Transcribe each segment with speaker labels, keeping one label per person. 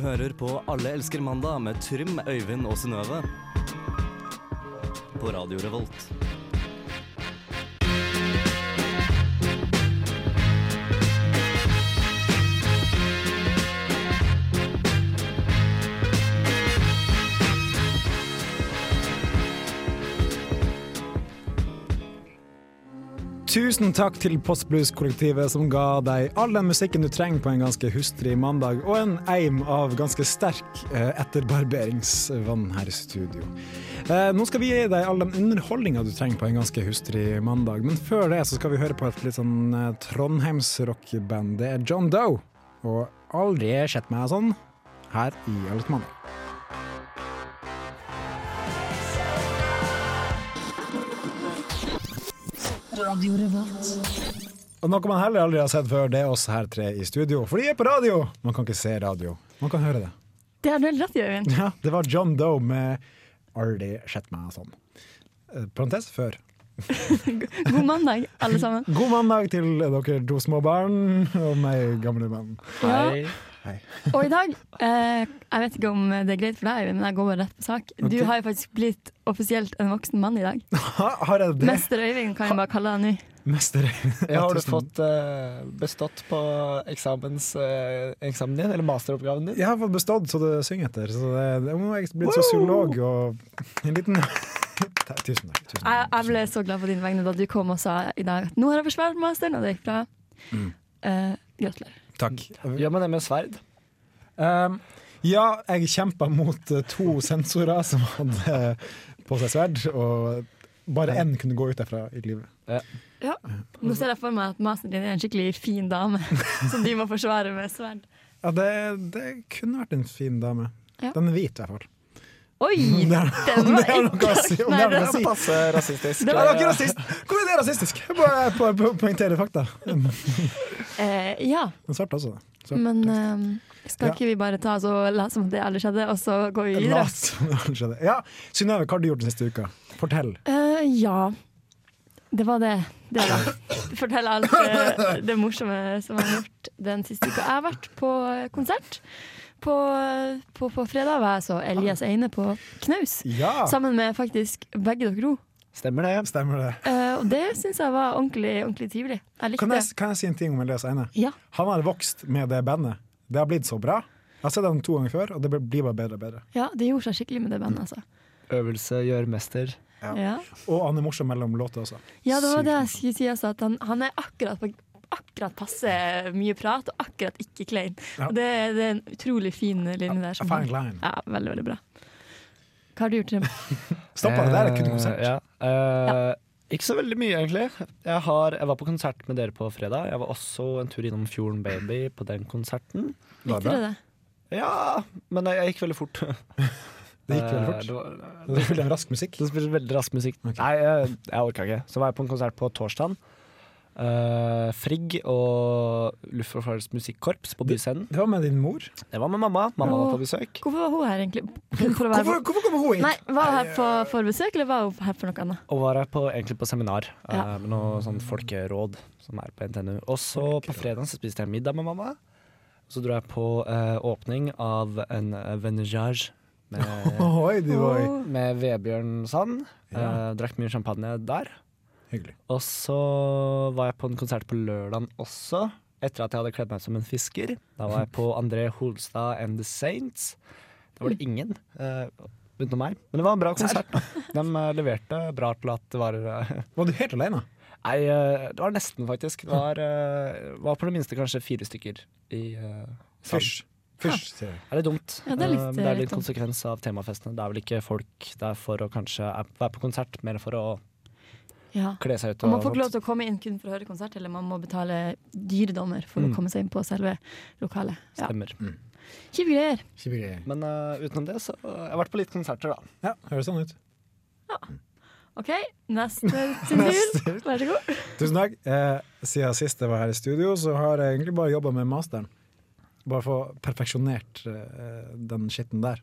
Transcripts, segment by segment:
Speaker 1: hører på Alle elsker mandag med Trym, Øyvind og Synnøve. På Radio Revolt.
Speaker 2: Tusen takk til Postblues-kollektivet som ga deg all den musikken du trenger på en ganske hustrig mandag, og en eim av ganske sterk eh, etterbarberingsvann her i studio. Eh, nå skal vi gi deg all den underholdninga du trenger på en ganske hustrig mandag, men før det så skal vi høre på et litt sånn eh, Trondheims-rockeband. Det er John Doe, og aldri sett meg sånn her i Alt mandag. Og noe man heller aldri har sett før, det er oss her tre i studio. For de er på radio! Man kan ikke se radio, man kan høre det.
Speaker 3: Det har du helt rett i, Øyvind.
Speaker 2: Ja, Det var John Doe med 'Aldri sett meg sånn'. Eh, Parentes før.
Speaker 3: God mandag, alle sammen.
Speaker 2: God mandag til dere to små barn og meg, gamle mann.
Speaker 3: Ja. Og i dag eh, Jeg vet ikke om det er greit for deg, Øyvind, men jeg går bare rett på sak. Du
Speaker 2: Ok.
Speaker 3: har jo faktisk blitt offisielt en voksen mann i dag.
Speaker 2: Ha, har jeg det?
Speaker 3: Mester Øyvind kan jeg bare kalle deg nå.
Speaker 2: Mester.
Speaker 4: Ja, har du
Speaker 2: Tusen-
Speaker 4: fått eh, bestått på eksamens, eh, eksamen din, eller masteroppgaven din?
Speaker 2: Jeg har fått bestått så det synger etter. Så det, jeg må jeg blitt sosiolog og en liten Ta- Tusen takk. Tusen
Speaker 3: Jeg,
Speaker 2: takk.
Speaker 3: jeg ble så glad på dine vegne da du kom og sa i dag at nå har jeg forsvart masteren, og det gikk bra.
Speaker 2: Mm.
Speaker 3: Eh, gratulerer.
Speaker 2: takk.
Speaker 4: Gjør man det med sverd?
Speaker 2: Um, ja, jeg kjempa mot eh, to sensorer som hadde på seg sverd, og bare én kunne gå ut derfra i livet.
Speaker 3: Ja. Nå ser jeg for meg at masteren din er en skikkelig fin dame som de må forsvare med sverd.
Speaker 2: Ja, det, det kunne vært en fin dame.
Speaker 3: Ja.
Speaker 2: Den er hvit, i hvert fall.
Speaker 3: Oi!
Speaker 2: Om det er,
Speaker 3: Den
Speaker 2: om
Speaker 3: var
Speaker 2: det er noe å si! Om det er noe å si.
Speaker 4: Passe rasistisk.
Speaker 2: Ja, det var ikke rasist! Hvor er det rasistisk? Jeg bare po- po- poengterer fakta.
Speaker 3: Eh, ja.
Speaker 2: Den svarte også, da. Svart.
Speaker 3: Men eh, skal
Speaker 2: Ja.
Speaker 3: ikke vi bare ta oss og late som at det aldri skjedde, og så går vi videre?
Speaker 2: Lat som det aldri skjedde. Ja, Synnøve, hva har du gjort den siste uka? Fortell.
Speaker 3: Eh, ja. Det var det. Det da. Fortell alt eh, det morsomme som jeg har gjort den siste uka. Jeg har vært på eh, konsert. På, på, på fredag var jeg så Elias Eine på Knaus.
Speaker 2: Ja,
Speaker 3: Sammen med faktisk begge dere to.
Speaker 4: Stemmer det.
Speaker 2: stemmer det.
Speaker 3: Eh, og det syns jeg var ordentlig, ordentlig trivelig. Jeg likte
Speaker 2: Kan
Speaker 3: det.
Speaker 2: jeg, kan jeg si en ting om Elias Eine?
Speaker 3: Ja.
Speaker 2: Han har vokst med det bandet. Det har blitt så bra. Jeg har sett ham to ganger før, og det blir bare bedre og bedre.
Speaker 3: ja, det gjorde seg skikkelig med det bandet, altså.
Speaker 4: Øvelse gjør mester.
Speaker 3: Ja.
Speaker 2: Og han er morsom mellom låter også.
Speaker 3: Ja, det var
Speaker 2: Sykt
Speaker 3: det jeg skulle si. Altså, at han, han er akkurat på akkurat passe mye prat og akkurat ikke klein.
Speaker 2: Ja.
Speaker 3: Og Det, det er en utrolig fin linje der.
Speaker 2: A
Speaker 3: Som
Speaker 2: fine line.
Speaker 3: sånn? ja, veldig, veldig bra. Hva har du gjort, Trym?
Speaker 2: Stoppa det der, er kun
Speaker 4: Eh,
Speaker 2: konsert.
Speaker 4: Ja. Eh, Ikke så veldig mye, egentlig. Jeg, har, jeg var på konsert med dere på fredag. Jeg var også en tur innom Fjorden Baby på den konserten.
Speaker 2: Var det
Speaker 3: Likte du
Speaker 2: bra?
Speaker 3: det?
Speaker 4: Ja, men jeg, jeg gikk veldig fort.
Speaker 2: Det gikk veldig
Speaker 4: Eh,
Speaker 2: fort.
Speaker 4: det var,
Speaker 2: Det spilte en rask musikk.
Speaker 4: Du spiller veldig rask musikk.
Speaker 2: Ok.
Speaker 4: Nei, jeg, jeg orka ikke. Så var jeg på en konsert på torsdagen. Eh, Frigg og Luftforsvarets musikkorps på Byscenen.
Speaker 2: Det var med din mor.
Speaker 4: Det var med mamma. Mamma var
Speaker 3: Åh.
Speaker 4: på besøk.
Speaker 3: Hvorfor var hun her, egentlig? For, for å være
Speaker 2: Hvorfor, hvorfor kommer hun
Speaker 3: Nei,
Speaker 2: hit?
Speaker 3: Var hun her for, for besøk, eller var hun her for noe annet?
Speaker 4: Og var her på, egentlig på seminar eh,
Speaker 3: Ja.
Speaker 4: med noe sånn folkeråd som er på NTNU. Og så på fredag så spiste jeg middag med mamma. Så dro jeg på eh, åpning av en uh, venejage med,
Speaker 2: Ohoi, du var
Speaker 3: Åh.
Speaker 4: med Vebjørn Sand. Eh,
Speaker 2: Ja.
Speaker 4: drakk mye champagne der.
Speaker 2: Hyggelig.
Speaker 4: Og så var jeg på en konsert på lørdagen også, etter at jeg hadde kledd meg som en fisker. Da var jeg på André Holstad and The Saints. Da var det ingen eh, utenom meg. Men det var en bra konsert. da. De eh, leverte bra til at det var eh,
Speaker 2: Var du helt alene?
Speaker 4: Nei, eh, det var nesten, faktisk. Det var, eh, var på det minste kanskje fire stykker i eh, salen.
Speaker 2: Fysj. Fysj, sier jeg.
Speaker 4: Er det dumt?
Speaker 3: Ja, det er litt-
Speaker 4: Eh, men det er
Speaker 3: litt
Speaker 4: litt
Speaker 3: dumt.
Speaker 4: konsekvens av temafestene. Det er vel ikke folk der for å kanskje eh, være på konsert, mer for å
Speaker 3: Ja.
Speaker 4: kle seg ut.
Speaker 3: Og man får ikke lov til å komme inn kun for å høre konsert, eller man må betale dyredommer for
Speaker 4: Mm.
Speaker 3: å komme seg inn på selve lokalet. Ja.
Speaker 4: Stemmer.
Speaker 3: Kjipe greier.
Speaker 2: Kjipe greier.
Speaker 4: Men eh, utenom det, så eh, jeg har vært på litt konserter, da.
Speaker 2: Ja, høres sånn ut.
Speaker 3: OK, neste sin tur. Vær så god.
Speaker 2: Tusen takk. Eh, siden sist jeg var her i studio, så har jeg egentlig bare jobba med masteren. Bare få perfeksjonert eh, den skitten der.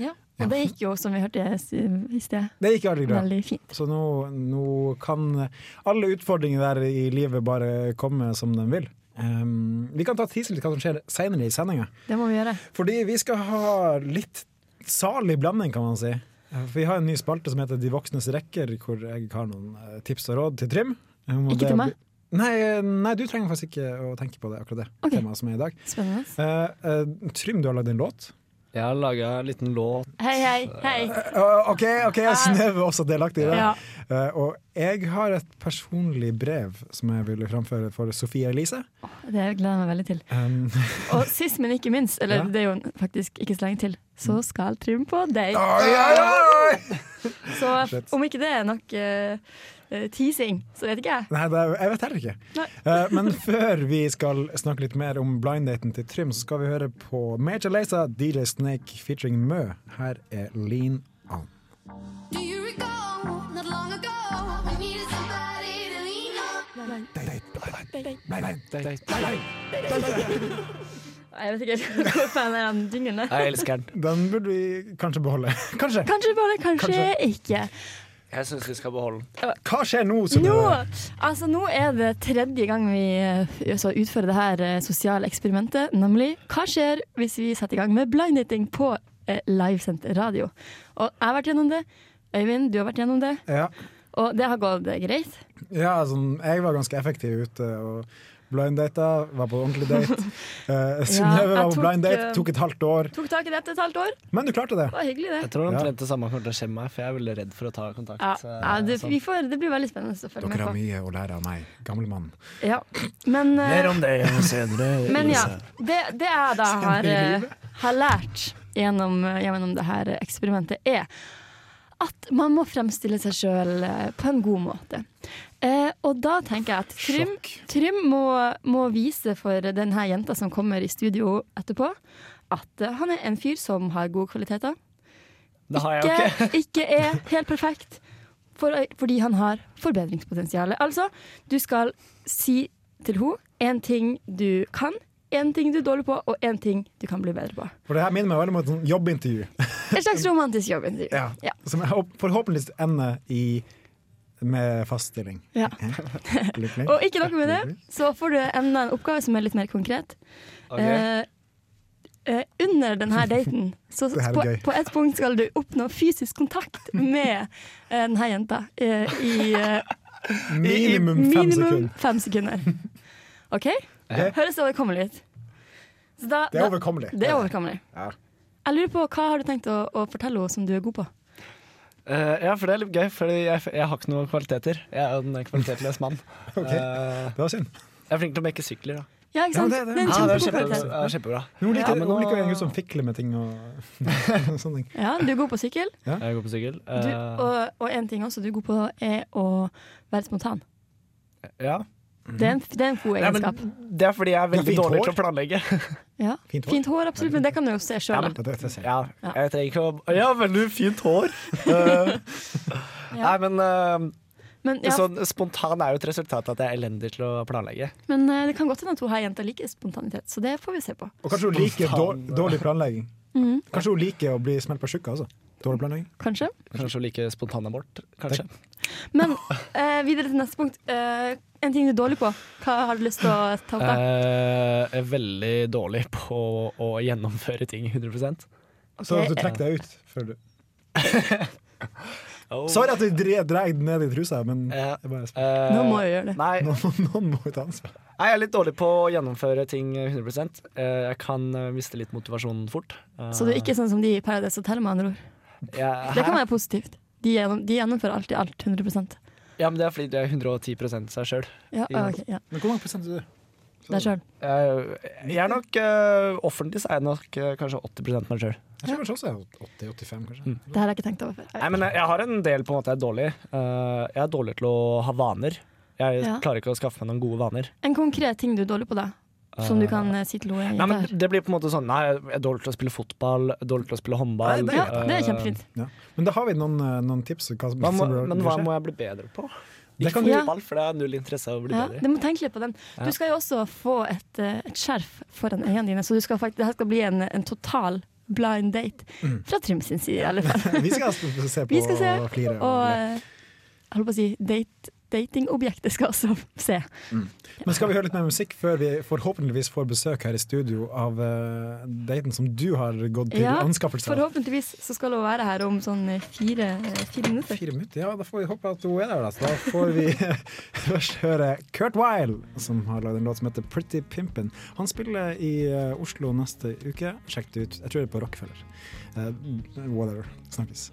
Speaker 3: Ja, og det gikk jo, som vi hørte s- i sted,
Speaker 2: Det gikk aldri bra.
Speaker 3: veldig fint.
Speaker 2: Så nå, nå kan alle utfordringer der i livet bare komme som de vil. Um, vi kan ta tise litt hva som skjer senere i sendinga.
Speaker 3: Det må vi gjøre.
Speaker 2: Fordi vi skal ha litt salig blanding, kan man si. For Vi har en ny spalte som heter De voksnes rekker, hvor jeg har noen eh, tips og råd til Trym. Um, og
Speaker 3: Ikke
Speaker 2: det
Speaker 3: til meg?
Speaker 2: blir- Nei, eh, nei, du trenger faktisk ikke å tenke på det, akkurat det
Speaker 3: Ok.
Speaker 2: temaet som er i dag.
Speaker 3: Spennende.
Speaker 2: Eh, eh, Trym, du har lagd en låt.
Speaker 4: Jeg har laga en liten låt.
Speaker 3: Hei, hei, hei.
Speaker 2: Eh, OK, ok, jeg snever også delaktig i det.
Speaker 3: Ah. Ja.
Speaker 2: Eh, og jeg har et personlig brev som jeg ville framføre for Sofie Elise.
Speaker 3: Det gleder jeg meg veldig til.
Speaker 2: Um,
Speaker 3: Og sist, men ikke minst, eller
Speaker 2: Ja. Mm.
Speaker 3: det er jo faktisk ikke så lenge til, så skal Trym på date.
Speaker 2: oi, oi, oi!
Speaker 3: Så
Speaker 2: Ah, Shit.
Speaker 3: om ikke det er nok eh, eh, teasing, så vet ikke jeg.
Speaker 2: Nei, det er, jeg vet heller ikke.
Speaker 3: Nei.
Speaker 2: Eh, men før vi skal snakke litt mer om blinddaten til Trym, så skal vi høre på Major Lazer, DJ Snake featuring Mø. Her er Lean On.
Speaker 5: Do you recall not long ago we needed somebody to lean on?
Speaker 3: Jeg vet ikke helt hvor fan er den jinglen der.
Speaker 4: Jeg elsker den.
Speaker 2: Den burde vi kanskje beholde. Kanskje.
Speaker 3: Kanskje bare, kanskje, ikke.
Speaker 4: Jeg syns vi skal beholde den.
Speaker 2: Hva skjer nå? Sunniva?
Speaker 3: Nå, altså, nå er det tredje gang vi eh, altså, utfører det her eh, sosiale eksperimentet, nemlig hva skjer hvis vi setter i gang med blind dating på eh, livesendt radio? Og jeg har vært gjennom det. Øyvind, du har vært gjennom det.
Speaker 2: Ja,
Speaker 3: Og det har gått eh, greit.
Speaker 2: ja sånn, jeg var ganske effektiv ute og blinddata. Var på ordentlig date. Uh, Synnøve
Speaker 3: jeg
Speaker 2: var på
Speaker 3: tok,
Speaker 2: blind date,
Speaker 3: eh,
Speaker 2: tok et halvt år.
Speaker 3: Tok tak i dette et halvt år.
Speaker 2: Men du klarte det.
Speaker 3: Det var hyggelig, det.
Speaker 4: Jeg tror
Speaker 2: Ja.
Speaker 4: omtrent det samme kommer til å skje med meg, for jeg er veldig redd for å ta kontakt.
Speaker 3: Ja,
Speaker 4: eh,
Speaker 3: ja det,
Speaker 4: sånn.
Speaker 3: vi får, det blir veldig spennende å følge med
Speaker 2: Dere har
Speaker 3: på.
Speaker 2: mye å lære av meg, gammel mann.
Speaker 3: Ja. Men, eh,
Speaker 4: Mer om det senere.
Speaker 3: men ja,
Speaker 4: Elise.
Speaker 3: det, det jeg da har,
Speaker 2: Senere i
Speaker 3: eh, har lært gjennom, gjennom det her eksperimentet, er at man må fremstille seg sjøl på en god måte. Eh, og da tenker jeg at Trym, Trym må, må vise for denne jenta som kommer i studio etterpå, at eh, han er en fyr som har gode kvaliteter.
Speaker 4: Det har jeg jo ikke.
Speaker 3: ikke, ikke er helt perfekt for, fordi han har forbedringspotensial. Altså, du skal si til henne én ting du kan, én ting du er dårlig på, og én ting du kan bli bedre på.
Speaker 2: For det her minner meg veldig om et sånn jobbintervju.
Speaker 3: Et slags romantisk jobbintervju.
Speaker 2: Ja.
Speaker 3: Ja.
Speaker 2: Som jeg håp- forhåpentligvis ender i med fast stilling.
Speaker 3: Ja.
Speaker 2: Lykkelig.
Speaker 3: Og ikke noe med det, så får du enda en oppgave som er litt mer konkret.
Speaker 4: Ok.
Speaker 3: Eh, eh, under denne daten så
Speaker 2: Det her er
Speaker 3: på,
Speaker 2: gøy.
Speaker 3: på et punkt skal du oppnå fysisk kontakt med eh, denne jenta eh, i eh,
Speaker 2: Minimum fem
Speaker 3: minimum
Speaker 2: sekunder.
Speaker 3: fem sekunder. OK? Høres overkommelig ut. Så da,
Speaker 2: Det er
Speaker 3: da-
Speaker 2: overkommelig.
Speaker 3: det er overkommelig. Jeg lurer på, Hva har du tenkt å, å fortelle henne som du er god på?
Speaker 4: Eh, ja, for det er litt gøy, for jeg, jeg har ikke noen kvaliteter. Jeg er en kvalitetsløs mann.
Speaker 2: Ok.
Speaker 4: Eh,
Speaker 2: Det var synd.
Speaker 4: jeg er flink til å mekke sykler, da.
Speaker 3: Ja, ikke sant?
Speaker 2: Ja, det- det-
Speaker 3: det, er
Speaker 4: Ja,
Speaker 3: en
Speaker 4: det er
Speaker 3: kjempegod
Speaker 4: kjempebra.
Speaker 3: karakter.
Speaker 4: Ja, kjempebra.
Speaker 2: Hun liker,
Speaker 4: Ja, men
Speaker 2: hun liker jo
Speaker 4: nå-
Speaker 2: en gutt som fikler med ting og sånne ting.
Speaker 3: Ja, du er god på sykkel.
Speaker 4: Jeg går på sykkel.
Speaker 3: Du,
Speaker 4: Eh,
Speaker 3: og, og en ting også du er god på, er å være spontan.
Speaker 4: Eh, ja.
Speaker 3: Det er en, det er en god
Speaker 4: Nei, men
Speaker 3: egenskap.
Speaker 4: det er fordi jeg er
Speaker 2: Du har
Speaker 4: veldig
Speaker 2: fint
Speaker 4: dårlig
Speaker 2: hår.
Speaker 4: til å planlegge.
Speaker 3: Ja.
Speaker 2: Fint hår.
Speaker 3: Fint hår, absolutt, men det kan du jo se
Speaker 4: Ja,
Speaker 3: sjøl.
Speaker 4: men-
Speaker 2: Det, det, det ser jeg.
Speaker 4: Ja,
Speaker 3: Ja.
Speaker 4: jeg trenger ikke å Ja, veldig fint hår! Eh, Nei,
Speaker 3: Ja.
Speaker 4: men eh,
Speaker 3: Men, ja,
Speaker 4: sånn spontan er jo et resultat av at jeg er elendig til å planlegge.
Speaker 3: men eh, det kan godt hende at hun her jenta liker spontanitet, så det får vi se på.
Speaker 2: Og kanskje hun liker
Speaker 4: Spontan.
Speaker 2: dår- dårlig planlegging. Kanskje hun liker å bli smelt på tjukka, altså. Dårlig planlegging.
Speaker 3: Kanskje.
Speaker 4: Kanskje å like spontanabort. Kanskje.
Speaker 3: Men eh, videre til neste punkt. Eh, en ting du er dårlig på. Hva har du lyst til å ta opp? da?
Speaker 4: Eh, jeg er veldig dårlig på å gjennomføre ting 100
Speaker 2: Så
Speaker 3: Ok,
Speaker 2: du
Speaker 3: eh.
Speaker 2: trekker deg ut før du
Speaker 4: oh.
Speaker 2: Sorry at du dreier den ned i trusa, men
Speaker 4: Ja.
Speaker 2: jeg bare spør.
Speaker 4: Eh,
Speaker 3: Nå må jeg gjøre det.
Speaker 4: Nei,
Speaker 2: Noen, noen må jo ta ansvar.
Speaker 4: nei, jeg er litt dårlig på å gjennomføre ting 100 Eh, Jeg kan eh, miste litt motivasjonen fort. Eh,
Speaker 3: Så du er ikke sånn som de i Paradise Hotel, med andre ord.
Speaker 4: jeg,
Speaker 3: Det kan være positivt. De, gjennom, de gjennomfører alltid alt 100
Speaker 4: Ja, men det er fordi du er 110 seg sjøl.
Speaker 3: Ja,
Speaker 4: Ja.
Speaker 3: ok, ja.
Speaker 2: Men hvor mange prosent er du?
Speaker 3: Deg sjøl.
Speaker 4: Jeg, jeg er nok eh, Offentlig så er jeg nok eh, kanskje 80 meg sjøl.
Speaker 2: Jeg tror kanskje også jeg er 80-85, kanskje.
Speaker 3: Det her har jeg ikke tenkt over før.
Speaker 4: Nei, men jeg, jeg har en del på en måte jeg er dårlig. Eh, jeg er dårlig til å ha vaner. Jeg
Speaker 3: Ja.
Speaker 4: klarer ikke å skaffe meg noen gode vaner.
Speaker 3: En konkret ting du er dårlig på, da? Som du kan eh, si til henne
Speaker 4: Nei,
Speaker 3: jenta
Speaker 4: men
Speaker 3: her.
Speaker 4: Det blir på en måte sånn Nei, jeg er dårlig til å spille fotball, dårlig til å spille håndball.
Speaker 3: Ja, det er
Speaker 4: Eh,
Speaker 3: kjempefint.
Speaker 2: Ja. Men da har vi noen, eh, noen tips. om Hva som
Speaker 4: hva må,
Speaker 2: bør-
Speaker 4: men
Speaker 2: bør
Speaker 4: hva
Speaker 2: skje.
Speaker 4: må jeg bli bedre på?
Speaker 2: Det
Speaker 4: Ikke
Speaker 2: kan
Speaker 3: du-
Speaker 4: fotball, for det er null interesse av å bli
Speaker 3: Ja,
Speaker 4: bedre.
Speaker 3: du må tenke litt på den. Du skal jo også få et, eh, et skjerf foran øynene dine, så du skal fakt- det her skal bli en, en total blind date.
Speaker 4: Mm.
Speaker 3: Fra Trym sin side, i alle fall.
Speaker 2: Vi skal altså se på
Speaker 3: Vi skal se
Speaker 2: og flire.
Speaker 3: og eh, jeg holdt på å si date datingobjektet skal også se.
Speaker 2: Men skal vi høre litt mer musikk før vi forhåpentligvis får besøk her i studio av eh, daten som du har gått til
Speaker 3: Ja,
Speaker 2: anskaffelse av?
Speaker 3: Forhåpentligvis så skal hun være her om sånn fire, fire minutter.
Speaker 2: Fire minutter, ja, Da får vi håpe at hun er der. Da, så da får vi først høre Kurt Weil, som har lagd en låt som heter 'Pretty Pimpin'. Han spiller i eh, Oslo neste uke. Sjekk det ut. Jeg tror det er på Rockefeller. Eh, whatever. Snakkes.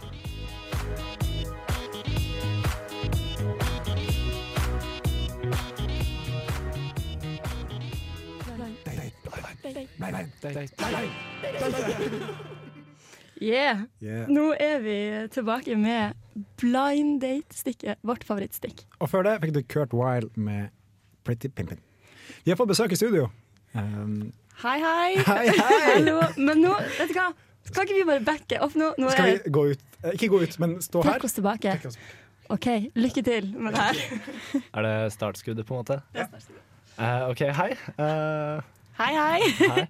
Speaker 3: Yeah!
Speaker 2: Yeah.
Speaker 3: Nå er vi tilbake med blind date-stikket, vårt favorittstikk.
Speaker 2: Og før det fikk du Kurt Weil med 'Pretty Pimpin'. Vi har fått besøk i studio. Um,
Speaker 3: Hei, hei!
Speaker 2: hei, hei!
Speaker 3: Hallo. Men nå, vet du hva? Skal ikke vi bare backe opp nå? nå
Speaker 2: Skal
Speaker 3: er
Speaker 2: vi gå ut? Eh, Ikke gå ut, men stå her.
Speaker 3: Trekk oss tilbake.
Speaker 2: Trekk oss.
Speaker 3: OK, lykke til med det her.
Speaker 4: Er det startskuddet, på en måte? Ja. OK, hei. Eh,
Speaker 3: Hei, hei!
Speaker 4: hei.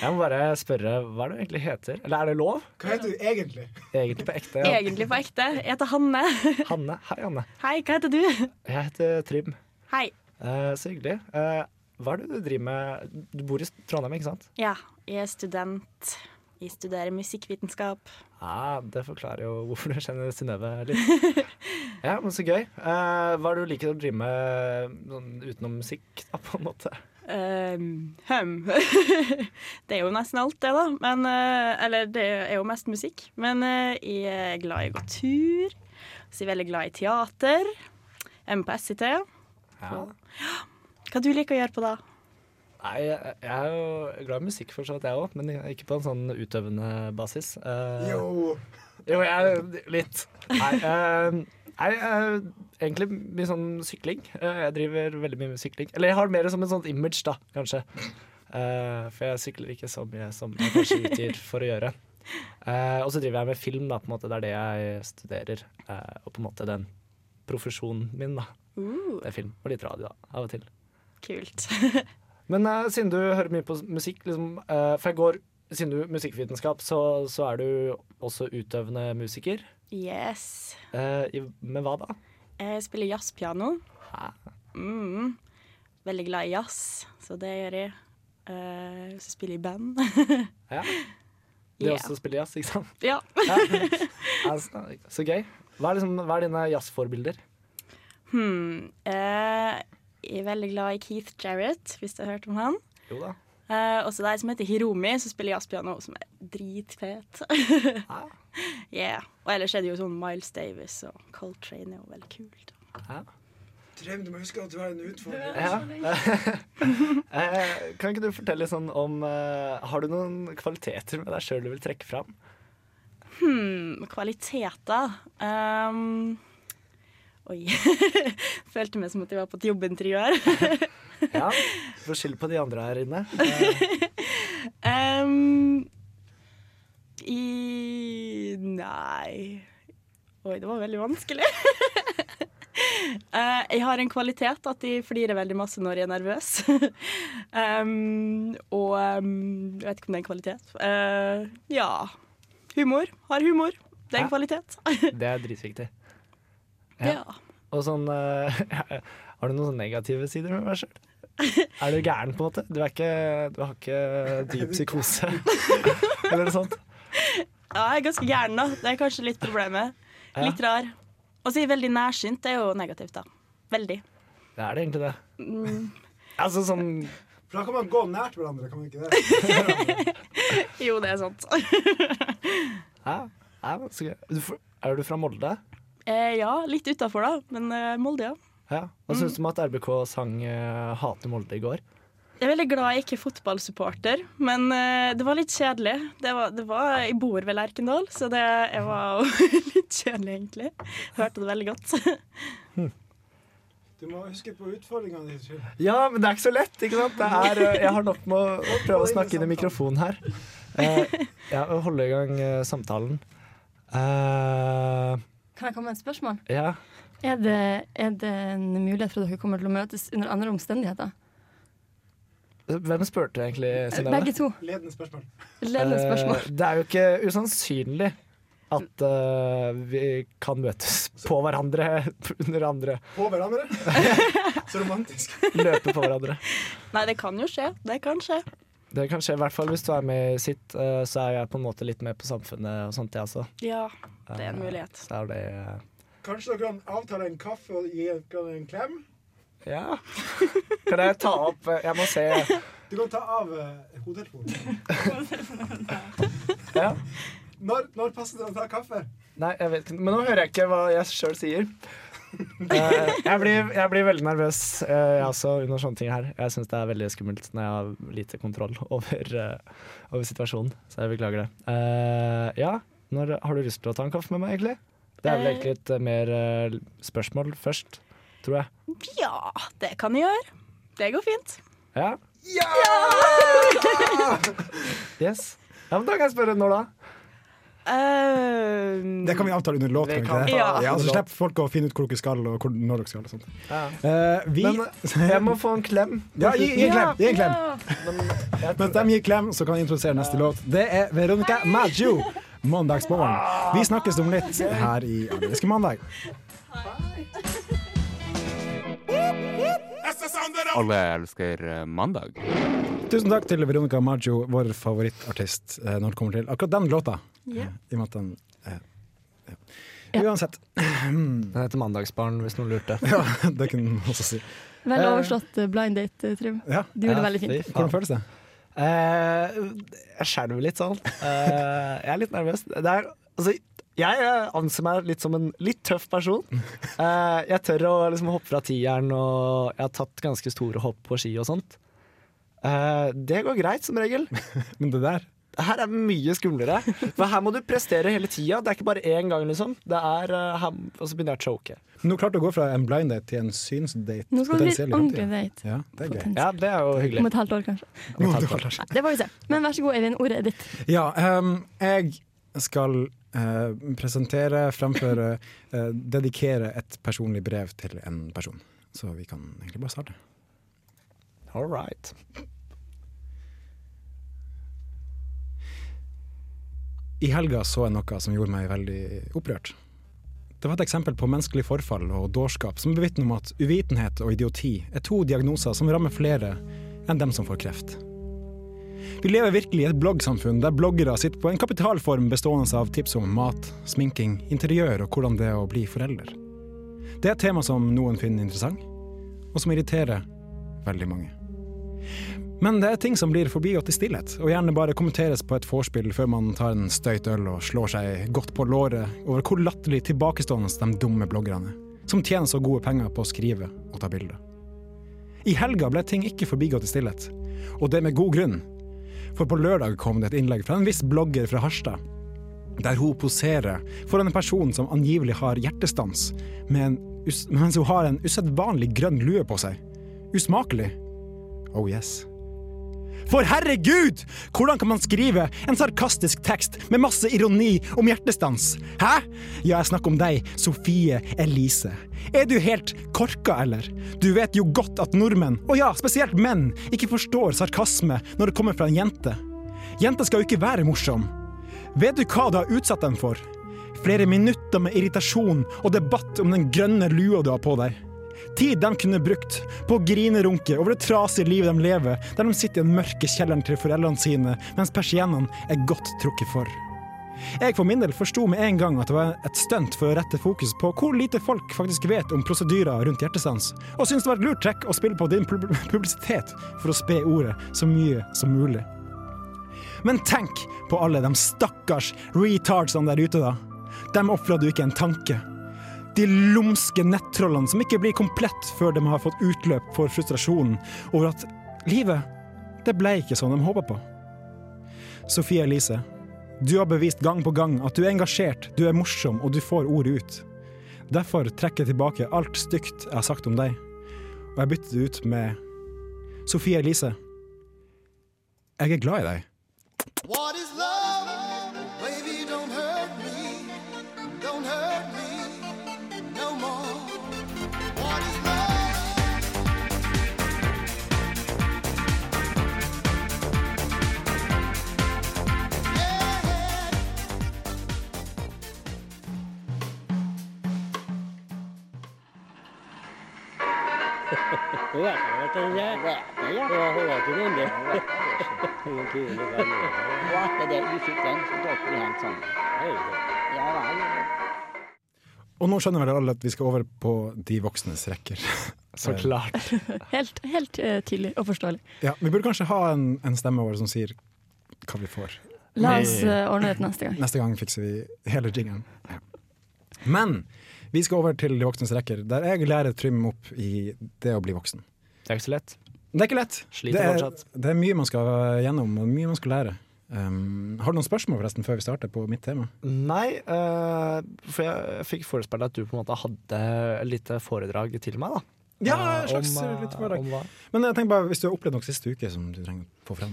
Speaker 4: Jeg må bare spørre, hva er det du egentlig heter? Eller er det lov?
Speaker 2: Hva heter du egentlig?
Speaker 4: Egentlig på ekte. Ja.
Speaker 6: Egentlig på ekte. Jeg heter Hanne.
Speaker 4: Hanne. Hei, Hanne.
Speaker 6: Hei, hva heter du?
Speaker 4: Jeg heter Trym.
Speaker 6: Hei.
Speaker 4: Eh, så hyggelig. Eh, hva er det du driver med? Du bor i Trondheim, ikke sant?
Speaker 6: Ja, jeg er student. Jeg studerer musikkvitenskap.
Speaker 4: Ja, Ah, Det forklarer jo hvorfor du kjenner Synnøve litt. Ja, men Så gøy. Eh, hva er det du liker å drive med sånn, utenom musikk, da, på en måte?
Speaker 6: Ehm, hm. det er jo nesten alt, det, da. Men, eh, eller det er jo mest musikk. Men eh, jeg er glad i å gå tur. Så jeg er veldig glad i teater. Jeg er med på SIT.
Speaker 4: Ja.
Speaker 6: Hva du liker å gjøre på da?
Speaker 4: Nei, jeg jeg er jo glad i musikk, for så vidt, jeg òg, men ikke på en sånn utøvende basis. Eh,
Speaker 2: Jo.
Speaker 4: Jo, jeg litt. Nei, eh, nei eh, egentlig mye sånn sykling. Eh, jeg driver veldig mye med sykling. Eller jeg har det mer som en sånn image, da, kanskje. Eh, for jeg sykler ikke så mye som jeg kanskje utgir for å gjøre. Eh, og så driver jeg med film, da, på en måte. Det er det jeg studerer. Eh, og på en måte den profesjonen min, da.
Speaker 6: Uh,
Speaker 4: Det er film og litt radio, da, av og til.
Speaker 6: kult.
Speaker 4: Men eh, siden du hører mye på musikk, liksom, eh, for jeg går Siden du er musikkvitenskap, så, så er du også utøvende musiker.
Speaker 6: Yes.
Speaker 4: Eh, i- med hva da?
Speaker 6: Jeg spiller jazzpiano.
Speaker 4: Hæ?
Speaker 6: Mm. Veldig glad i jazz, så det gjør jeg. Eh, så spiller jeg i band.
Speaker 4: Ja. De
Speaker 6: Ja.
Speaker 4: også spiller jazz, ikke sant?
Speaker 6: ja.
Speaker 4: Ja. Altså, så gøy. Hva er, liksom, hva er dine jazzforbilder?
Speaker 6: Hmm. eh, jeg er veldig glad i Keith Jarrett, hvis du har hørt om han.
Speaker 4: Jo da.
Speaker 6: Uh, og så det er en som heter Hiromi, som spiller jazzpiano, som er dritfet.
Speaker 4: Ja.
Speaker 6: yeah. Og ellers er det jo sånn Miles Davis og Coltrane er jo veldig kult.
Speaker 4: Ja.
Speaker 2: Trym, du må huske at du har en utfordring.
Speaker 4: Eh, kan ikke du fortelle litt sånn om eh, Har du noen kvaliteter med deg sjøl du vil trekke fram?
Speaker 6: Hmm, kvaliteter um, Oi. Følte meg som at jeg var på et jobbintervju her.
Speaker 4: Ja. Få skyld på de andre her inne.
Speaker 6: Ehm, I Nei Oi, det var veldig vanskelig. Eh, jeg har en kvalitet at jeg flirer veldig masse når jeg er nervøs. Ehm, og ehm, jeg vet ikke om det er en kvalitet. Eh, ja. Humor. Har humor. Det er en
Speaker 4: Ja.
Speaker 6: kvalitet.
Speaker 4: Det er dritviktig. Ja.
Speaker 6: ja.
Speaker 4: Og sånn eh, Har du noen sånne negative sider med deg sjøl? Er du gæren, på en måte? Du, er ikke, du har ikke dyp psykose eller noe sånt?
Speaker 6: ja, jeg er ganske gæren, da. Det er kanskje litt problemet.
Speaker 4: Ja.
Speaker 6: Litt rar. Og så er jeg veldig nærsynt. Det er jo negativt, da. Veldig.
Speaker 4: Det er det egentlig det. Altså sånn
Speaker 2: For da kan man gå nært hverandre, kan man ikke det?
Speaker 6: Jo, det er sant.
Speaker 4: Hæ? Hæ? Så gøy. Du fr- Er du fra Molde?
Speaker 6: Eh, ja, litt utafor, da. Men eh, Molde, ja.
Speaker 4: Ja. Hva syns du om at RBK sang eh, 'Hate Molde' i går?
Speaker 6: Jeg er veldig glad jeg ikke er fotballsupporter, men eh, det var litt kjedelig. Det var, det var, jeg bor ved Lerkendal, så det jeg var litt kjedelig, egentlig. Hørte det veldig godt.
Speaker 2: Du må huske på utfordringene dine.
Speaker 4: Ja, men det er ikke så lett, ikke sant? Det er, eh, jeg har nok med å å prøve å snakke inn i mikrofonen her. Eh, ja, og holde i gang eh, samtalen. Eh,
Speaker 3: Kan jeg komme med et spørsmål?
Speaker 4: ja.
Speaker 3: Er det, er det en mulighet for at dere kommer til å møtes under andre omstendigheter?
Speaker 4: Hvem spurte egentlig, Synnøve?
Speaker 3: Begge to.
Speaker 2: Ledende spørsmål.
Speaker 3: Ledende spørsmål.
Speaker 4: Eh, Det er jo ikke usannsynlig at eh, vi kan møtes på hverandre under andre.
Speaker 2: På hverandre. Så romantisk.
Speaker 4: Løpe på hverandre.
Speaker 6: Nei, det kan jo skje. Det kan skje.
Speaker 4: Det kan skje, i hvert fall hvis du er med i sitt, eh, så er jeg på en måte litt med på samfunnet og sånt, jeg også.
Speaker 6: Ja, det er en mulighet.
Speaker 4: Så er det eh,
Speaker 2: Kanskje dere kan avtale en kaffe og gi hverandre en klem?
Speaker 4: Ja. Kan jeg ta opp eh, Jeg må se.
Speaker 2: Du kan ta av uh, hodetelefonen.
Speaker 4: Ja.
Speaker 2: Når, når passer det å ta kaffe?
Speaker 4: Nei, jeg vet ikke. Men nå hører jeg ikke hva jeg sjøl sier. Eh, jeg, blir, jeg blir veldig nervøs eh, jeg også under sånne ting her. Jeg syns det er veldig skummelt når jeg har lite kontroll over, eh, over situasjonen. Så jeg beklager det. Eh, ja, når, har du lyst til å ta en kaffe med meg, egentlig? Det er vel egentlig et eh, mer eh, spørsmål først, tror jeg.
Speaker 6: Ja, det kan jeg gjøre. Det går fint.
Speaker 4: Ja? Yes. Ja, men da kan jeg spørre når da?
Speaker 6: Eh,
Speaker 2: Det kan vi avtale under låt.
Speaker 4: Vi
Speaker 2: Kan vi ikke
Speaker 4: kan
Speaker 2: det?
Speaker 6: ta-
Speaker 2: Ja, så slipper folk å finne ut hvor dere skal, og hvor, når dere skal. Og sånt.
Speaker 4: Ja.
Speaker 2: Eh, vi
Speaker 4: Men eh, jeg må få en klem.
Speaker 2: Ja, gi, gi en klem! Gi en klem.
Speaker 4: Jeg
Speaker 2: Mens de gir klem, så kan jeg introdusere neste låt. Det er Veronica Maggio. Mandagsmorgen. Vi snakkes om litt her i Allerske mandag.
Speaker 7: Alle elsker eh, mandag.
Speaker 2: Tusen takk til Veronica Maggio, vår favorittartist eh, når det kommer til akkurat den låta.
Speaker 6: Ja.
Speaker 2: I og med at den eh, ja. Uansett.
Speaker 4: Den heter Mandagsbarn, hvis noen lurte.
Speaker 2: Ja, det kunne man også si.
Speaker 3: Vel overslått eh, blind date, Trym.
Speaker 2: Ja.
Speaker 3: Du gjorde det veldig
Speaker 4: Ja,
Speaker 3: fint.
Speaker 4: fy faen.
Speaker 2: Hvordan føles det?
Speaker 4: Eh, jeg skjelver litt sånn. Eh, jeg er litt nervøs. Det er, altså, jeg eh, anser meg litt som en litt tøff person. Eh, jeg tør å liksom, hoppe fra tieren, og jeg har tatt ganske store hopp på ski og sånt. Eh, det går greit, som regel.
Speaker 2: Men det der
Speaker 4: Her er mye skumlere. For her må du prestere hele tida. Det er ikke bare én gang, liksom. Det er, eh, her, og så begynner jeg å choke.
Speaker 2: Men Nå klarte du å gå fra en blind date til en synsdate.
Speaker 3: Nå skal det bli
Speaker 2: potensielt i
Speaker 3: en ordentlig
Speaker 2: fremtiden.
Speaker 3: date.
Speaker 2: Ja, det er gøy.
Speaker 3: Potensielt.
Speaker 4: Ja, det er jo hyggelig.
Speaker 3: Om et halvt år, kanskje.
Speaker 2: Nå, det holder seg.
Speaker 3: Det får vi se. Men vær så god, Eivind. Ordet er ditt.
Speaker 2: Ja, ehm, jeg skal eh, presentere, fremføre, eh, dedikere et personlig brev til en person. Så vi kan egentlig bare starte.
Speaker 4: All right.
Speaker 2: I helga så jeg noe som gjorde meg veldig opprørt. Det var et eksempel på menneskelig forfall og dårskap som bevitner om at uvitenhet og idioti er to diagnoser som rammer flere enn dem som får kreft. Vi lever virkelig i et bloggsamfunn der bloggere sitter på en kapitalform bestående av tips om mat, sminking, interiør og hvordan det er å bli forelder. Det er et tema som noen finner interessant, og som irriterer veldig mange. Men det er ting som blir forbigått i stillhet, og gjerne bare kommenteres på et vorspiel før man tar en støyt øl og slår seg godt på låret over hvor latterlig tilbakestående de dumme bloggerne, som tjener så gode penger på å skrive og ta bilder. I helga ble ting ikke forbigått i stillhet, og det med god grunn. For på lørdag kom det et innlegg fra en viss blogger fra Harstad, der hun poserer foran en person som angivelig har hjertestans, med en us mens hun har en usedvanlig grønn lue på seg. Usmakelig. Oh yes. For herregud! Hvordan kan man skrive en sarkastisk tekst med masse ironi om hjertestans? Hæ? Ja, jeg snakker om deg, Sofie Elise. Er du helt korka, eller? Du vet jo godt at nordmenn, og ja, spesielt menn, ikke forstår sarkasme når det kommer fra en jente. Jenter skal jo ikke være morsom. Vet du hva du har utsatt dem for? Flere minutter med irritasjon og debatt om den grønne lua du har på deg. Tid de kunne brukt på å grinerunke over det trasige livet de lever, der de sitter i den mørke kjelleren til foreldrene sine, mens persiennene er godt trukket for. Jeg for min del forsto med en gang at det var et stunt for å rette fokus på hvor lite folk faktisk vet om prosedyrer rundt hjertestans, og syntes det var et lurt trekk å spille på din pub- publisitet for å spe ordet så mye som mulig. Men tenk på alle de stakkars retardsene der ute, da. Dem ofra du ikke en tanke. De lumske nettrollene som ikke blir komplett før de har fått utløp for frustrasjonen over at livet Det ble ikke sånn de håpa på. Sofie Elise, du har bevist gang på gang at du er engasjert, du er morsom og du får ordet ut. Derfor trekker jeg tilbake alt stygt jeg har sagt om deg, og jeg bytter det ut med Sofie Elise. Jeg er glad i deg.
Speaker 8: What is love? Baby, don't hurt me. Don't hurt me no more. What is love? Yeah.
Speaker 9: sånn?
Speaker 2: Og nå skjønner vel alle at vi skal over på de voksnes rekker.
Speaker 4: Så klart.
Speaker 3: Helt, helt eh, tydelig og forståelig.
Speaker 2: Ja, vi burde kanskje ha en, en stemme vår som sier hva vi får.
Speaker 3: La oss eh, ordne det neste gang.
Speaker 2: Neste gang fikser vi hele jingeren. Ja. Men vi skal over til de voksnes rekker, der jeg lærer Trym opp i det å bli voksen.
Speaker 4: Det er ikke så lett.
Speaker 2: Det er ikke lett.
Speaker 4: Sliter
Speaker 2: det, er,
Speaker 4: fortsatt.
Speaker 2: det er mye man skal gjennom, og mye man skal lære. Um, har du noen spørsmål forresten før vi starter på mitt tema?
Speaker 4: Nei, eh, for jeg fikk forespeilet at du på en måte hadde et lite foredrag til meg. da
Speaker 2: Ja,
Speaker 4: Eh,
Speaker 2: et slags
Speaker 4: om, eh,
Speaker 2: litt foredrag.
Speaker 4: om hva?
Speaker 2: Men jeg tenker bare, hvis du har opplevd noe siste uke som du trenger å få frem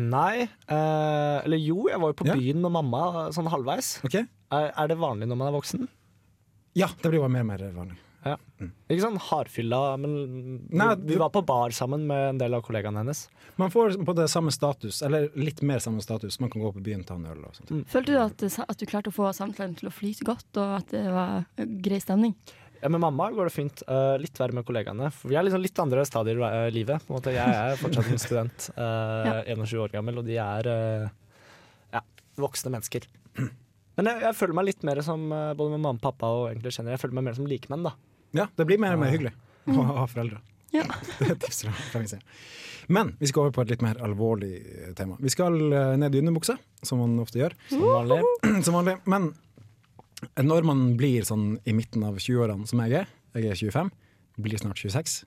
Speaker 4: Nei. eh, eller jo, jeg var jo på
Speaker 2: Ja.
Speaker 4: byen med mamma sånn halvveis.
Speaker 2: Ok?
Speaker 4: Er, er det vanlig når man er voksen?
Speaker 2: Ja, det blir bare mer og mer vanlig.
Speaker 4: Ikke sånn hardfylla, men
Speaker 2: Nei,
Speaker 4: vi, vi
Speaker 2: du-
Speaker 4: var på bar sammen med en del av kollegaene hennes.
Speaker 2: Man får på det samme status, eller litt mer samme status. Man kan gå på byen, ta en øl og sånt.
Speaker 3: Følte du at, eh, at du klarte å få samtalen til å flyte godt, og at det var eh, grei stemning?
Speaker 4: Ja, Med mamma går det fint. eh, litt verre med kollegaene. For vi er liksom litt andre stadier i eh, livet. På en måte. Jeg er fortsatt en student, eh, 21 år gammel, og de er eh, ja, voksne mennesker. Men jeg, jeg føler meg litt mer som eh, både med mamma og pappa og egentlig generelt, jeg føler meg mer som likemenn. da
Speaker 2: Ja, det blir mer og
Speaker 4: Ah.
Speaker 2: mer hyggelig
Speaker 4: Mm.
Speaker 2: å ha foreldre.
Speaker 3: Ja.
Speaker 2: Det er et tips fra fra min side. Men vi skal over på et litt mer alvorlig eh, tema. Vi skal eh, ned i underbuksa, som man ofte gjør.
Speaker 4: Som vanlig.
Speaker 2: Som vanlig. Men eh, når man blir sånn i midten av 20-årene, som jeg er, jeg er 25, blir snart 26,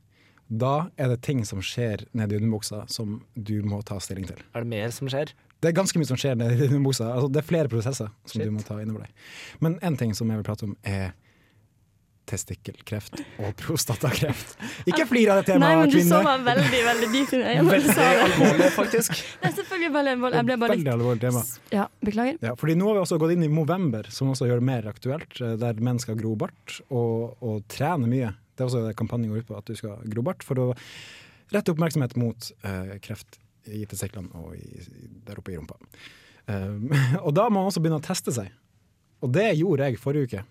Speaker 2: da er det ting som skjer ned i underbuksa som du må ta stilling til.
Speaker 4: Er det mer som skjer?
Speaker 2: Det er ganske mye som skjer nedi dine bukser. Altså, det er flere prosesser som
Speaker 4: Shit.
Speaker 2: du må ta innover deg. Men én ting som jeg vil prate om, er testikkelkreft og prostatakreft. Ikke flir av det
Speaker 3: Nei,
Speaker 2: temaet,
Speaker 3: men du så
Speaker 2: kvinne!
Speaker 3: meg veldig, veldig dypt i øynene. når du sa det.
Speaker 4: Alvorlig, faktisk.
Speaker 3: Det er selvfølgelig veldig alvorlig. Jeg ble bare
Speaker 2: Veldig
Speaker 3: litt
Speaker 2: alvorlig tema.
Speaker 3: Ja, beklager.
Speaker 2: Ja, fordi nå har vi også gått inn i november, som også gjør det mer aktuelt, eh, der menn skal gro bart og, og trene mye. Det er også det kampanjen går ut på, at du skal gro bart for å rette oppmerksomhet mot eh, kreft i testiklene og i, i, der oppe i rumpa. Eh, og da må man også begynne å teste seg. Og det gjorde jeg forrige uke,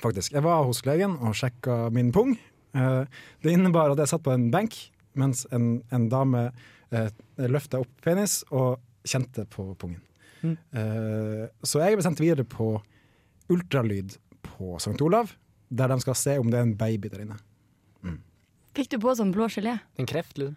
Speaker 2: faktisk. Jeg var hos legen og sjekka min pung. Eh, det innebar at jeg satt på en benk mens en, en dame uh, løfta opp penis og kjente på pungen. Eh, Så jeg ble sendt videre på ultralyd på St. Olav, der de skal se om det er en baby der inne.
Speaker 3: Fikk du på sånn blå gelé?
Speaker 4: En kreft, liksom.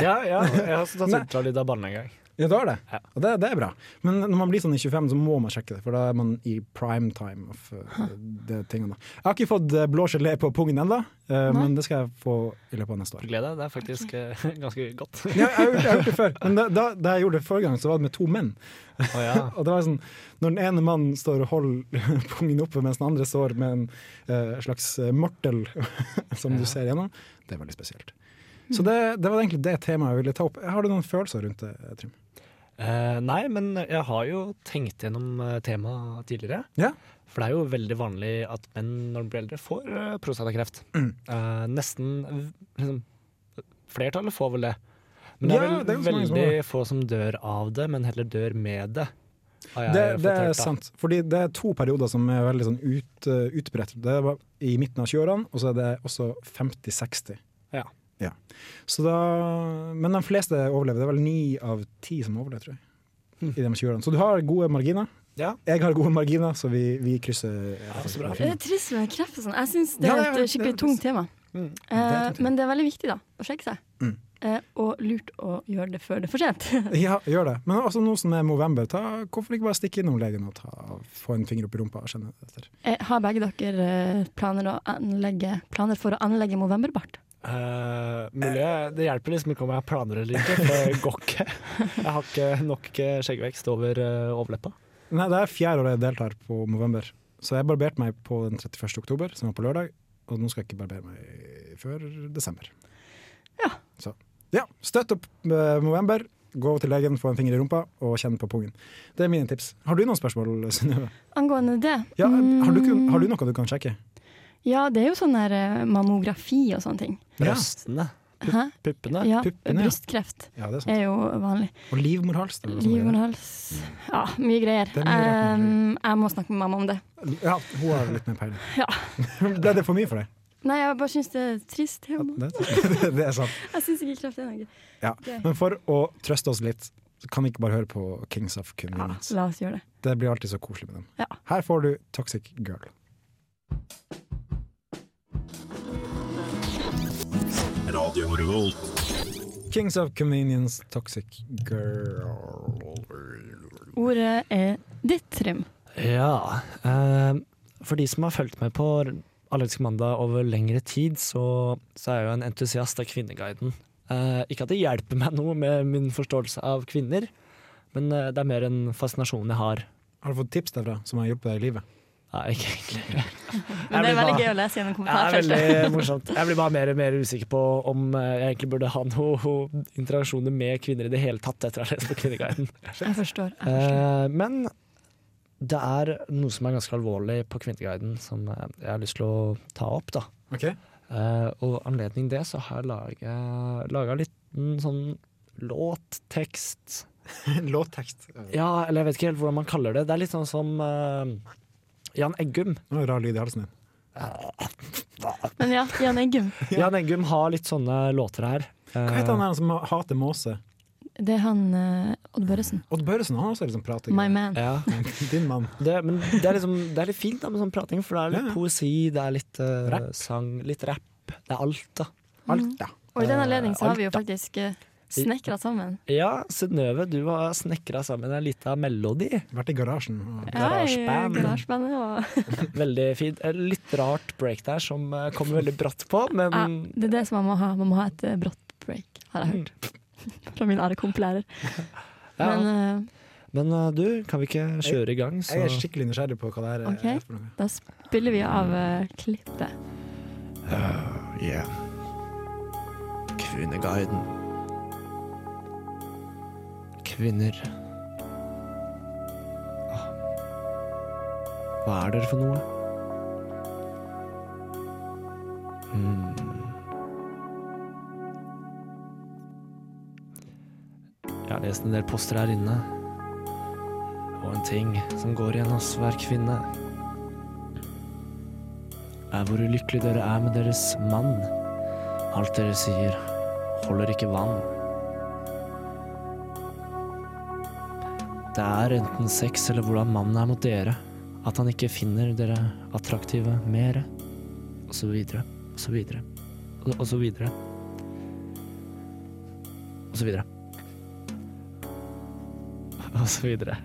Speaker 4: Ja, ja. Jeg har også tatt
Speaker 2: Nei.
Speaker 4: ultralyd av barn en gang.
Speaker 2: Ja, det er det.
Speaker 4: Ja.
Speaker 2: Og det, det er bra. Men når man blir sånn i 25, så må man sjekke det, for da er man i prime time. Of, eh, det tingene. Jeg har ikke fått eh, blå gelé på pungen ennå, eh,
Speaker 3: Nei.
Speaker 2: men det skal jeg få i løpet av neste år.
Speaker 4: Gled deg, det er faktisk eh, ganske godt.
Speaker 2: Ja, jeg, har gjort- jeg har gjort det før, men da, da, da jeg gjorde det forrige gang, så var det med to menn.
Speaker 4: Å, ja.
Speaker 2: Og det var sånn, Når den ene mannen står og holder pungen oppe, mens den andre står med en eh, slags eh, mortel som du ser gjennom, det er veldig spesielt. Så det, det var egentlig det temaet jeg ville ta opp. Har du noen følelser rundt det, Trym?
Speaker 4: Eh, nei, men jeg har jo tenkt gjennom eh, temaet tidligere.
Speaker 2: Ja.
Speaker 4: For det er jo veldig vanlig at menn når de blir eldre, får eh, prostatakreft.
Speaker 2: Mm.
Speaker 4: Eh, nesten eh, liksom, Flertallet får vel det. Men det
Speaker 2: Ja,
Speaker 4: er vel
Speaker 2: det er jo så mange
Speaker 4: veldig
Speaker 2: som
Speaker 4: få som dør av det, men heller dør med det. har jeg
Speaker 2: Det,
Speaker 4: fått
Speaker 2: det
Speaker 4: hørt, da.
Speaker 2: er sant. Fordi det er to perioder som er veldig sånn ut, eh, utbredt. Det var i midten av 20-årene, og så er det også 50-60.
Speaker 4: Ja.
Speaker 2: Ja. Så da, men de fleste overlever. Det er vel ni av ti som overlever, tror jeg. I de 20-årene. Så du har gode marginer.
Speaker 4: Ja.
Speaker 2: Jeg har gode marginer, så vi, vi krysser.
Speaker 3: Det er trist med kreft og sånn. Jeg syns det
Speaker 2: Ja,
Speaker 3: er
Speaker 2: ja,
Speaker 3: et
Speaker 2: ja,
Speaker 3: eh, skikkelig
Speaker 2: det-
Speaker 3: tungt tema. Eh,
Speaker 2: tungt tema.
Speaker 3: Men det er veldig viktig, da, å sjekke seg.
Speaker 2: Mm.
Speaker 3: Eh, og lurt å gjøre det før det er for sent.
Speaker 2: Ja, gjør det. Men også nå som det er november, ta, hvorfor ikke bare stikke innom legen og ta, få en finger opp i rumpa og kjenne etter?
Speaker 3: Eh, Har begge dere eh, planer, å anlegge, planer for å anlegge novemberbart?
Speaker 4: Eh, mulig jeg- Det hjelper liksom ikke om jeg har planer eller ikke, for det går ikke. Jeg har ikke nok eh, skjeggvekst over eh, overleppa.
Speaker 2: Nei, det er fjerde året jeg deltar på November. Så jeg barberte meg på den 31. oktober, som var på lørdag. Og nå skal jeg ikke barbere meg før desember.
Speaker 6: Ja.
Speaker 2: Så ja, støtt opp eh, November. Gå til legen, få en finger i rumpa og kjenn på pungen. Det er mine tips. Har du noen spørsmål, Synnøve?
Speaker 3: Angående det
Speaker 2: Ja, har, du, kun-
Speaker 3: mm,
Speaker 2: har du noe du kan sjekke?
Speaker 3: Ja, det er jo sånn der eh, mammografi og sånne ting.
Speaker 2: Ja.
Speaker 4: Brøstene.
Speaker 3: Hæ?
Speaker 4: Puppene.
Speaker 3: Ja,
Speaker 2: puppene, ja.
Speaker 3: brystkreft
Speaker 2: Ja, det er sant.
Speaker 3: er jo vanlig.
Speaker 2: Og livmorhals. det er vel sånn det er.
Speaker 3: Eh, Livmorhals Ja, mye greier.
Speaker 2: Det er mye rart man
Speaker 3: Em, jeg må snakke med mamma om det.
Speaker 2: Ja, hun har litt mer peiling.
Speaker 3: Ja.
Speaker 2: Ble det for mye for deg?
Speaker 3: Nei, jeg bare syns det er trist.
Speaker 2: Ja,
Speaker 3: tema.
Speaker 2: Det, det, det er sant.
Speaker 3: Jeg syns ikke kreft er noe.
Speaker 2: Ja.
Speaker 3: Gøy.
Speaker 2: Men for å trøste oss litt, så kan vi ikke bare høre på Kings of
Speaker 3: Ja,
Speaker 2: Convenience.
Speaker 3: la oss gjøre det.
Speaker 2: Det blir alltid så koselig med dem.
Speaker 3: Ja.
Speaker 2: Her får du Toxic Girl. Kings of Convenience, Toxic Girl.
Speaker 3: Ordet er ditt, Trym.
Speaker 4: Ja. eh, for de som har fulgt med på Allergisk mandag over lengre tid, så, så er jeg jo en entusiast av Kvinneguiden. Eh, ikke at det hjelper meg noe med min forståelse av kvinner, men eh, det er mer en fascinasjon jeg har.
Speaker 2: Har du fått tips derfra som har hjulpet deg i livet?
Speaker 4: Nei, ikke egentlig.
Speaker 3: Men det er veldig gøy å lese gjennom
Speaker 4: Ja, det er
Speaker 3: kommentarfeltet.
Speaker 4: veldig morsomt. Jeg blir bare mer og mer usikker på om eh, jeg egentlig burde ha noen interaksjoner med kvinner i det hele tatt etter å ha lest på Kvinneguiden.
Speaker 3: Jeg forstår. Jeg forstår.
Speaker 4: Eh, men det er noe som er ganske alvorlig på Kvinneguiden som eh, jeg har lyst til å ta opp. da.
Speaker 2: Ok.
Speaker 4: Eh, og anledning det så har jeg laga litt mm, sånn låttekst
Speaker 2: Låttekst. Det
Speaker 4: Ja, eller jeg vet ikke helt hvordan man kaller det. Det er litt sånn som eh, Jan Eggum.
Speaker 2: var en rar lyd i halsen din.
Speaker 3: Men ja, Jan Eggum.
Speaker 4: Jan Eggum har litt sånne låter her.
Speaker 2: Hva heter han her som hater måse?
Speaker 3: Det er han eh, Odd Børresen.
Speaker 2: Odd Børresen, han også liksom prater.
Speaker 3: My man.
Speaker 4: Eh, Ja.
Speaker 2: Din mann.
Speaker 4: Det, men det er, liksom, det er litt fint da med sånn prating, for det er litt
Speaker 2: Ja, ja.
Speaker 4: poesi, det er litt eh,
Speaker 2: Rap.
Speaker 4: sang, litt rap. Det er alt, da.
Speaker 3: Mm.
Speaker 2: Alt, ja.
Speaker 3: Og i den
Speaker 4: Eh,
Speaker 3: anledning så har
Speaker 4: alt,
Speaker 3: vi jo
Speaker 4: da.
Speaker 3: faktisk uh, snekra sammen.
Speaker 4: Ja, Synnøve, du har snekra sammen en lita melodi.
Speaker 2: Vært i garasjen. og-
Speaker 3: Ja, i
Speaker 4: Garasjeband.
Speaker 3: garasjebandet. Og,
Speaker 4: Veldig fint. Eh, Litt rart break der som eh, kommer veldig bratt på, men
Speaker 3: ja, det er det som man må ha. Man må ha et eh, brått break, har jeg hørt. Fra min ære kompilærer.
Speaker 4: ja.
Speaker 3: Men eh,
Speaker 4: Men eh, du, kan vi ikke kjøre i gang, så
Speaker 2: Jeg er skikkelig nysgjerrig på hva det her
Speaker 3: Ok.
Speaker 2: er for noe.
Speaker 3: Da spiller vi av eh, klippet.
Speaker 4: Yeah. Kvinneguiden. Kvinner. Åh. Hva er dere for noe? Hmm. Jeg har lest en del poster her inne. Og en ting som går igjen hos hver kvinne er hvor ulykkelig dere er med deres mann. Alt dere sier, holder ikke vann. Det er enten sex eller hvordan mannen er mot dere, at han ikke finner dere attraktive mere, og så videre, og så videre, og- og så videre. Og så videre. Og så videre.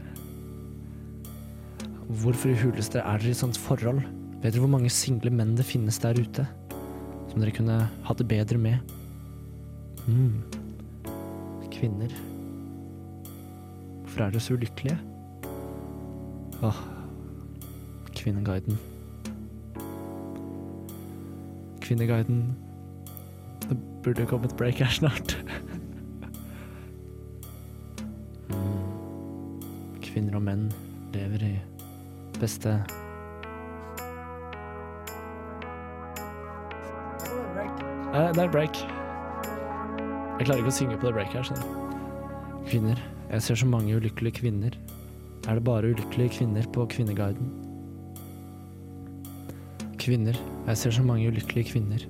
Speaker 4: Hvorfor i huleste er dere i sånt forhold? Vet dere hvor mange single menn det finnes der ute? Som dere kunne hatt det bedre med? Mm. Kvinner. Hvorfor er dere så ulykkelige? Åh, Kvinneguiden. Kvinneguiden. Det burde komme et break her snart. Mm. Kvinner og menn lever i beste Eh, det er break. Jeg klarer ikke å synge på det breaket her, skjønner du. Kvinner. Jeg ser så mange ulykkelige kvinner. Er det bare ulykkelige kvinner på Kvinneguiden? Kvinner. Jeg ser så mange ulykkelige kvinner.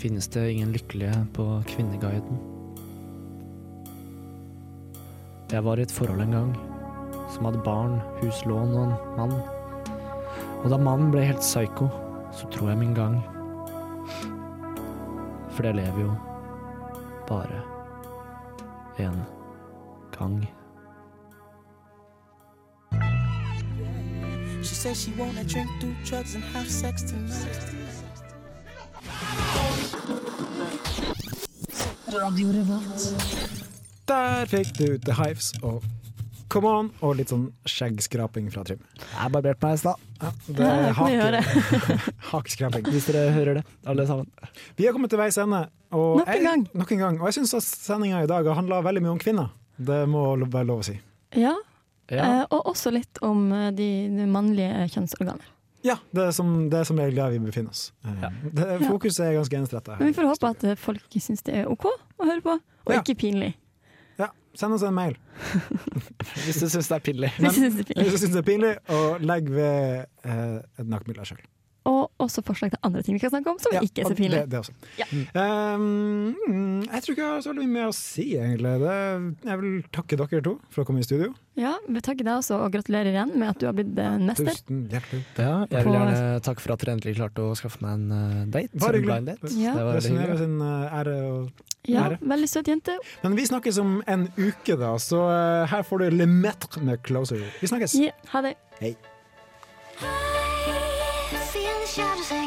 Speaker 4: Finnes det ingen lykkelige på Kvinneguiden? Jeg var i et forhold en gang som hadde barn, huslån og en mann. Og da mannen ble helt psyko, så tror jeg min gang for det lever jo bare en gang.
Speaker 8: She says she wanna drink, do drugs, and have sex tonight.
Speaker 2: Der fikk du The Hives og Come On og litt sånn skjeggskraping fra Trym.
Speaker 4: Jeg barberte meg i stad,
Speaker 2: Ja, det
Speaker 3: Ja, det kan vi
Speaker 2: hake- hakeskraping.
Speaker 4: hvis dere hører det, alle sammen.
Speaker 2: Vi har kommet til veis ende. og
Speaker 3: Nok en
Speaker 2: jeg-
Speaker 3: gang.
Speaker 2: Nok en gang. Og jeg syns sendinga i dag har handla veldig mye om kvinner. Det må lo- være lov å si.
Speaker 3: Ja,
Speaker 4: Ja.
Speaker 3: eh, og også litt om eh, de, de mannlige kjønnsorganer.
Speaker 2: Ja, det er som, det er som regel der vi befinner oss. Eh, Det,
Speaker 3: Ja.
Speaker 2: fokuset er ganske ensrettet.
Speaker 3: Men vi
Speaker 2: her.
Speaker 3: får håpe at eh, folk syns det er OK å høre på, og
Speaker 2: Ja.
Speaker 3: ikke pinlig.
Speaker 2: Ja, send oss en mail
Speaker 4: Hvis du syns det er pinlig.
Speaker 3: Hvis du synes det er
Speaker 2: hvis
Speaker 3: pinlig.
Speaker 2: du syns det er pinlig, og legg ved eh, et nakkbilde sjøl.
Speaker 3: Og også forslag til andre ting vi kan snakke om som
Speaker 2: Ja,
Speaker 3: ikke er så
Speaker 2: og
Speaker 3: pinlig.
Speaker 2: Det, det også.
Speaker 3: Ja.
Speaker 2: Um, mm, jeg tror ikke jeg har så veldig mye mer å si, egentlig. Det, jeg vil takke dere to for å komme i studio.
Speaker 3: Ja, vi takker deg også, og gratulerer igjen med at du har blitt eh, mester.
Speaker 2: Tusen hjertelig.
Speaker 4: Ja, jeg vil
Speaker 3: På-
Speaker 4: gjerne takke for at dere endelig klarte å skaffe meg en eh, date.
Speaker 2: Bare
Speaker 4: en
Speaker 2: hyggelig.
Speaker 4: blind date.
Speaker 3: Ja.
Speaker 4: Det var veldig
Speaker 2: Resonere
Speaker 4: hyggelig.
Speaker 2: sin eh, ære og
Speaker 3: Ja,
Speaker 2: Ære.
Speaker 3: veldig søt jente.
Speaker 2: Men vi snakkes om en uke, da, så eh, her får du Le Metre med Closer. Vi snakkes.
Speaker 3: Ja, ha det.
Speaker 5: I feel the shadows hang